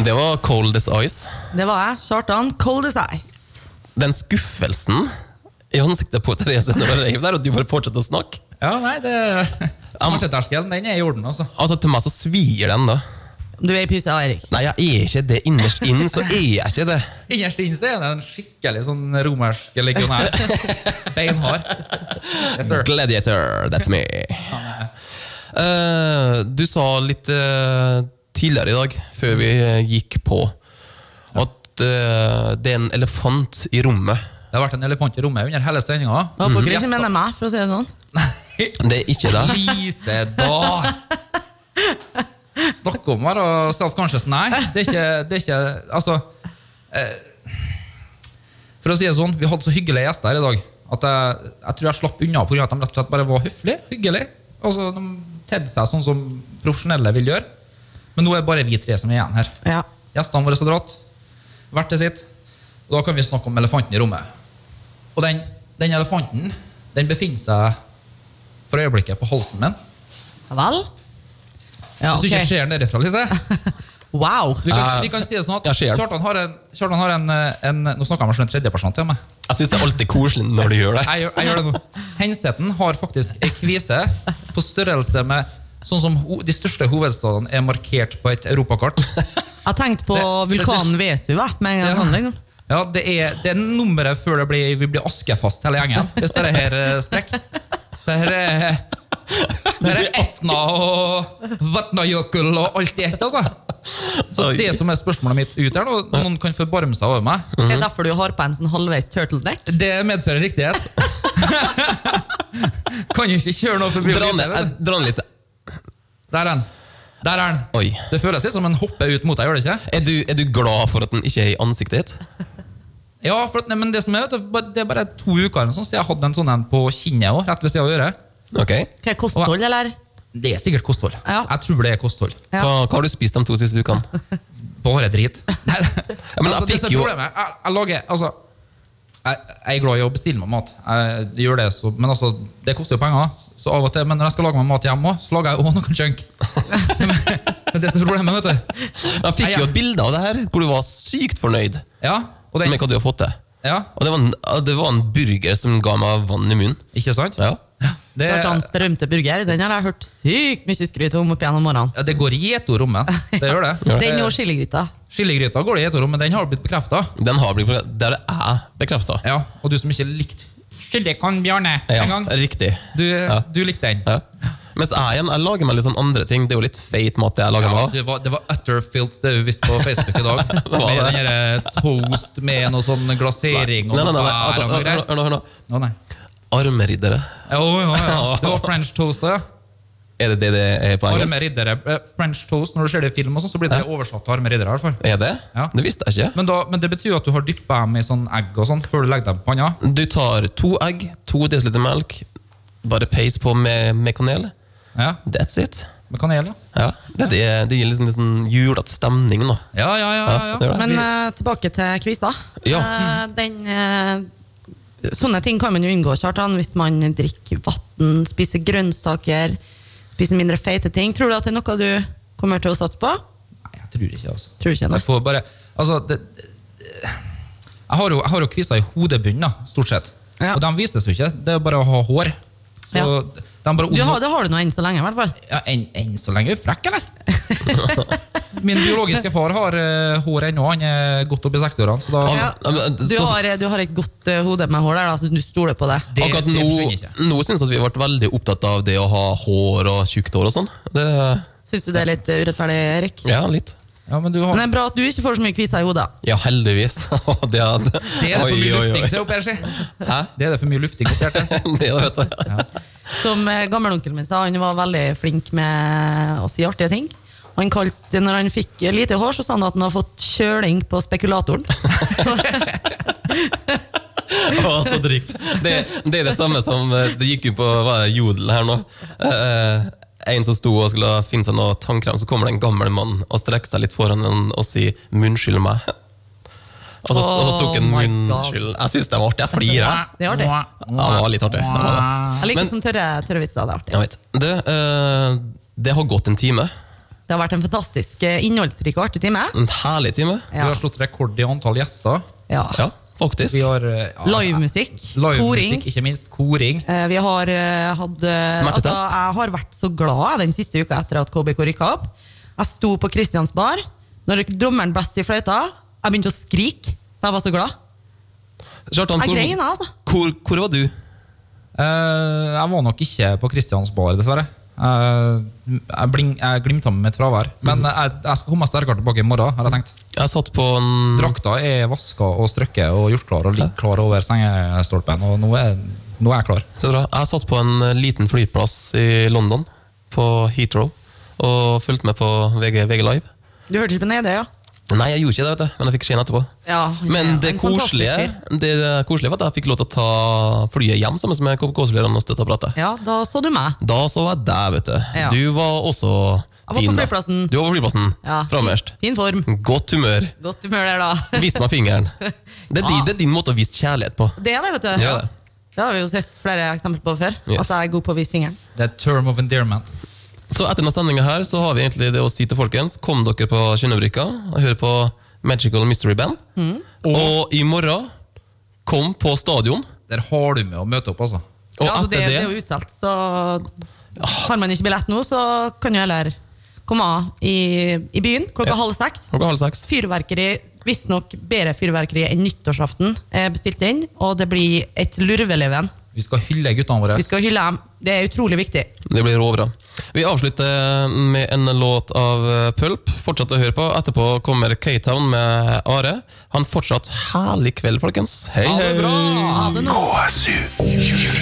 Det var Cold as Ice.
Det var jeg. Kjartan, cold as ice.
Den skuffelsen i ansiktet på Therese når jeg reiv der, og du bare fortsetter å snakke
Ja, nei, det Smerteterskelen, den er i orden, altså.
Altså, til meg så svir den, da.
Du er i pysa, Eirik.
Nei, jeg er ikke det. Innerst inn så er jeg ikke det.
Innerst inne så er det en skikkelig sånn romersk legionær. Beinhard. Yes, sir.
Gladiator, that's me. Eh, du sa litt eh, tidligere i dag, før vi eh, gikk på, at eh, det er en elefant i rommet.
Det har vært en elefant i rommet under hele Mhm. sendinga.
Håper dere ikke mener meg, for å si det sånn.
Det er ikke det.
Lise, da! Snakke om å være self-conscious. Nei, det er ikke, det er ikke Altså eh, For å si det sånn, vi hadde så hyggelige gjester her i dag at jeg, jeg tror jeg slapp unna pga. at de rett og slett bare var høflige. Hyggelige. Altså, de tedde seg sånn som profesjonelle vil gjøre. Men nå er det bare vi tre som er igjen her.
Ja.
Gjestene våre har dratt. Hvert til sitt. Og da kan vi snakke om elefanten i rommet. Og den, den elefanten den befinner seg for øyeblikket på halsen min.
Ja Vel? Ja,
Hvis du ikke
ok.
ser den derifra, Lise
Wow.
vi kan,
Eh,
vi kan si det sånn at
jeg ser den.
Kjartan har en, Kjartan har en, eh, en Nå snakker jeg meg som en tredjeperson til meg.
Jeg syns det er alltid koselig når du gjør det.
Jeg gjør, jeg gjør det nå. Henseten har faktisk ei kvise på størrelse med Sånn som ho, De største hovedstadene er markert på et europakart.
Jeg tenkte på
Det- det-
vulkanen Vesu jeg, med en gang. Sånn, liksom.
Ja, det er, det er nummeret før det blir, vi blir askefast hele gjengen. Hvis det her eh, sprekker. Det her er, det her er Etna og Vatnajökull og alt i ett, altså. Så det som er spørsmålet mitt ut her nå, noen kan forbarme seg over meg,
Det er derfor du har på en sånn halvveis turtleneck.
det medfører riktighet. Kan ikke kjøre noe forbi
Dra
Lise,
ned,
vet
jeg,
du.
dra ned litt.
Der er den. Der er den.
Oi.
Det føles litt som en hopper ut mot deg, gjør det ikke?
Er du, er du glad for at den ikke er i ansiktet ditt?
Ja, for, at- nei, men det som er, vet du, det er bare to uker eller noe sånt, så jeg hadde en sånn en på kinnet også, rett ved siden av øret.
Ok.
Hva er kosthold, eller?
Det er sikkert kosthold.
Ja.
Jeg tror det er kosthold.
Ja.
Hva, hva har du spist de to siste ukene?
Bare drit. Nei,
men jeg
altså, det
fikk
som er
jo-
problemet, jeg, jeg lager Altså, jeg, jeg er glad i å bestille meg mat. Jeg, gjør det, så, men altså, det koster jo penger. Så av og til, Men når jeg skal lage meg mat hjemme òg, så lager jeg òg noe junk. det er det som er problemet, vet du.
Jeg fikk jo et bilde av det her hvor du var sykt fornøyd
Ja, og den,
med hva du har fått til.
ja,
Og det var, en, det var en burger som ga meg vann i munnen.
ikke sant?
Ja.
Det,
Klart hans berømte burger. Den har jeg hørt sykt mye skryt om opp gjennom morgenen.
ja, det går i ett ord om den. Det gjør det.
Den og chiligryta.
Skillegryta går det i ett ord om, men den har blitt bekrefta.
Den har blitt bekreftet. Der er jeg bekrefta.
Ja, og du som ikke likte Skillekan Bjarne
Ja,
en gang,
riktig.
du,
Ja.
du likte den.
Ja. Mens jeg igjen, jeg lager meg litt sånn andre ting. Det er jo litt feit mat jeg lager
Ja,
meg av.
det var, det var utter filth, det vi visste på Facebook i dag.
var
med
det.
den derre toast med noe sånn glasering og
Nei, nei, nei, nei.
bær
Altså,
og noe
hør nå,
greier.
hør nå, hør nå.
Å, nei.
Armriddere.
Ja, å, ja, ja. Det var french toast, da, ja.
Er det det det er på
Arme
engelsk?
riddere. eh, French toast, når du ser det i film, og sånn, så blir det oversatt til arme riddere. i hvert fall.
Er det?
Ja.
Det visste jeg ikke.
Men, da, men det betyr at du har dyppa dem i sånn egg og sånn før du legger dem på panna?
Du tar to egg, to dl melk, bare peis på med, med kanel.
Ja,
That's it.
Med kanel, ja.
Ja, det, det, det gir liksom, liksom julete stemning nå.
Ja, ja, ja. ja, ja.
det gjør det.
Men eh, tilbake til kvisa.
Ja.
Eh, den, eh, sånne ting kan man jo unngå Kjartan, hvis man drikker vann, spiser grønnsaker, spiser mindre feite ting. Tror du at det er noe du kommer til å satse på?
Nei, jeg tror ikke altså.
Tror du ikke
Jeg
det?
får bare Altså det, det, jeg, har jo, jeg har jo kviser i hodebunnen, da, stort sett.
Ja.
Og de vises jo ikke. Det er bare å ha hår. Så
Ja.
de bare
Du har, det har du nå enn så lenge, i hvert fall.
ja, enn, enn så lenge er du frekk, eller? Min biologiske far har eh, hår ennå. Han er godt opp i 60-årene. Så da
Al-
Ja. eh,
men,
Du
så-
har, du har et godt eh, hode med hår der, da, så du stoler på det.
det,
Akkurat
det
nå,
forsvinner ikke.
nå syns jeg at vi har vært veldig opptatt av det å ha hår og tjukt hår og sånn. Det,
Syns du det er litt eh, urettferdig, Erik?
ja, litt.
Ja, men du har,
Men det er bra at du ikke får så mye kviser i hodet.
Ja, heldigvis. det er det.
det er det for mye lufting til oppi her, si.
Hæ?
Det er det for mye lufting oppi her. si.
Det er det, vet du.
Som eh, gammelonkelen min sa, han var veldig flink med å si artige ting. Han kalte, når han fikk lite hår, så sa han at han hadde fått kjøling på spekulatoren.
Å, så drygt. Det, det er det samme som eh, Det gikk jo på hva er det, Jodel her nå. Eh, en som sto og skulle finne seg noe tannkrem, så kommer det en gammel mann og strekker seg litt foran en og sier 'munnskyld meg'. Og så, og så altså, tok han
Oh my God.
munnskyld. Jeg syns det var artig. Jeg flirer. jeg.
Det er artig.
Ja, det var litt artig. Det var det.
Jeg liker
Men-
sånn tørre, tørre vitser. Det er artig.
Jeg vet. Du, eh, det har gått en time.
Det har vært en fantastisk eh, innholdsrik og artig time.
En herlig time.
Du
Ja.
har slått rekord i antall gjester.
Ja.
Ja, faktisk.
Vi har eh, ja,
Livemusikk, koring.
livemusikk, ikke minst koring.
Eh, Vi har eh, hatt eh,
Smertetest.
Altså, jeg har vært så glad jeg, den siste uka etter at KBK rykka opp. Jeg sto på Christians bar. Når dommeren blåste i fløyta, jeg begynte å skrike. for Jeg var så glad.
Kjartan,
Jeg
hvor,
grein, jeg, altså.
hvor, hvor var du?
Eh, jeg var nok ikke på Christians bar, dessverre. Eh, jeg, bling, jeg glimta med mitt fravær. Men eh, jeg, jeg skal komme sterkere tilbake i morgen. har jeg tenkt.
Jeg satt på en
Drakta er vaska og strøkket og gjort klar og ligger klar over sengestolpen. Og nå er, nå er jeg klar.
Så bra. Jeg satt på en eh, liten flyplass i London, på Heathrow, og fulgte med på VG, VG Live.
Du hørte ikke på E Nedøya?
Nei, jeg gjorde ikke det, vet du, men jeg fikk skjeen etterpå.
Ja,
Men
ja,
det
en fantastisk
koselige,
fyr.
det koselige var at jeg fikk lov til å ta flyet hjem sammen med KBK-spillerne og støtteapparatet.
Ja, da så du meg.
Da så jeg deg, vet du.
Ja.
Du var også
på
fin. da.
flyplassen.
Du var på flyplassen.
Ja.
Framerst.
Fin form.
Godt humør.
Godt humør der, da.
Vis meg fingeren. Det er, din, det er din måte å vise kjærlighet på.
Det er det, vet du.
Ja, det er.
Det har vi jo sett flere eksempler på før.
Yes.
At jeg er god på å vise fingeren.
Det er term of endearment.
Så etter denne sendinga her så har vi egentlig det å si til folkens. Kom dere på Kynnebrykka og hør på Magical Mystery Band.
Mm.
Og i morgen kom på stadion.
Der har du med å møte opp, altså.
Og
ja, altså, det, det
etter det,
er
Ah.
jo utsolgt, så har man ikke billett nå, så kan jo heller komme av i, i byen klokka
Ja.
halv seks.
klokka halv seks.
Fyrverkeri, visstnok bedre fyrverkeri enn nyttårsaften, er bestilt inn. Og det blir et lurveleven.
Vi skal hylle guttene våre.
Vi skal hylle dem. Det er utrolig viktig.
Det blir råbra. Vi avslutter med en låt av eh, Pulp. Fortsett å høre på. Etterpå kommer K-Town med Are. Ha en fortsatt herlig kveld, folkens. Hei, hei.
Ha det nå.
KSU.